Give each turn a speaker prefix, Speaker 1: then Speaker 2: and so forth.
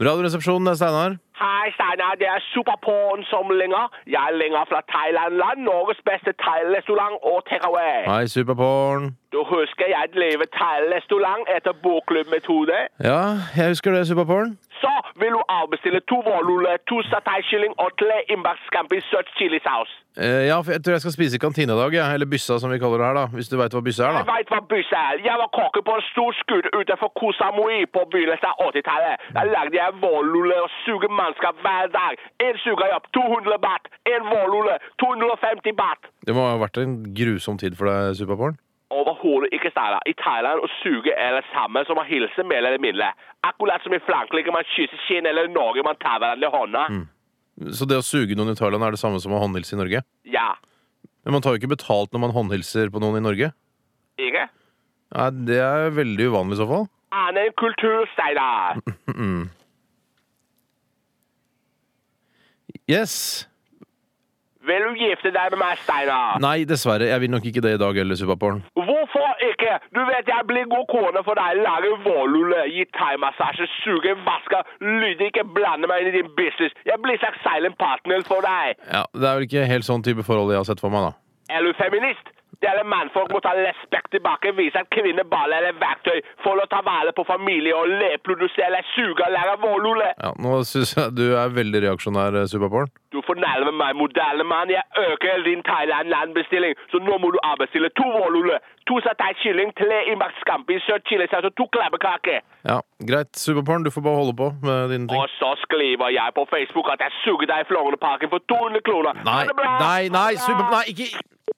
Speaker 1: Radioresepsjonen, det er Steinar.
Speaker 2: Hei, Steinar. Det er Superporn som lenger. Jeg lenger fra Thailand-land, Norges beste thairestaurant og takeaway.
Speaker 1: Hei, Superporn.
Speaker 2: Du husker jeg driver thairestaurant etter bokklubbmetode?
Speaker 1: Ja, jeg husker det, Superporn.
Speaker 2: Så vil du avbestille to vårruller, to sataikylling og tre innbaktskampi søt chilisaus.
Speaker 1: Eh, ja, for jeg tror jeg skal spise i kantina i dag, jeg. Eller byssa, som vi kaller det her, da. Hvis du veit hva bysse er,
Speaker 2: Jeg
Speaker 1: da.
Speaker 2: veit hva bysse er. Jeg var kokke på en stor skute utenfor Koh Samui på begynnelsen av 80-tallet. Der lagde jeg vårruller og suger mannskap hver dag. Én suger jeg opp 200 baht. Én vårrulle 250 baht.
Speaker 1: Det må ha vært en grusom tid for deg, Superporn.
Speaker 2: Overhodet ikke Steinar. I Thailand å suge er det samme som å hilse mer eller mindre. Akkurat som i Frankrike man kysser kinn, eller i Norge man tar hverandre i hånda.
Speaker 1: Så det å suge noen i Thailand er det samme som å håndhilse i Norge?
Speaker 2: Ja.
Speaker 1: Men man tar jo ikke betalt når man håndhilser på noen i Norge.
Speaker 2: Ikke?
Speaker 1: Nei, Det er veldig uvanlig i så fall.
Speaker 2: Annen kultur, Steinar.
Speaker 1: Yes!
Speaker 2: Vil du gifte deg med meg, Steinar?
Speaker 1: Nei, dessverre. Jeg vil nok ikke det i dag heller, Superporn.
Speaker 2: Hvorfor ikke? Du vet jeg blir god kone for deg. Lage vårlulle, gi thaimassasje, suge, vaske, lyde, ikke blande meg inn i din business. Jeg blir slags silent partner for deg.
Speaker 1: Ja, Det er vel ikke helt sånn type forhold jeg har sett for meg, da.
Speaker 2: Er du feminist? Det er det mannfolk må ta respekt tilbake, vise at kvinner bare er et verktøy for å ta vare på familie og reprodusere, suge og lære vårlulle.
Speaker 1: Ja, Nå syns jeg du er veldig reaksjonær, eh, Superporn.
Speaker 2: Du fornærmer meg, moderne mann. Jeg øker din Thailand-landbestilling, så nå må du avbestille to vårlulle, to satay kylling, tre innbakt scampi, søt chilisaus og to klebbekaker.
Speaker 1: Ja, Greit, Superporn, du får bare holde på med dine ting.
Speaker 2: Og så skriver jeg på Facebook at jeg suger deg i Frognerparken for 200 kroner.
Speaker 1: Nei,
Speaker 2: Ha det bra!
Speaker 1: nei, nei,
Speaker 2: Ha det bra!
Speaker 1: super, nei, ikke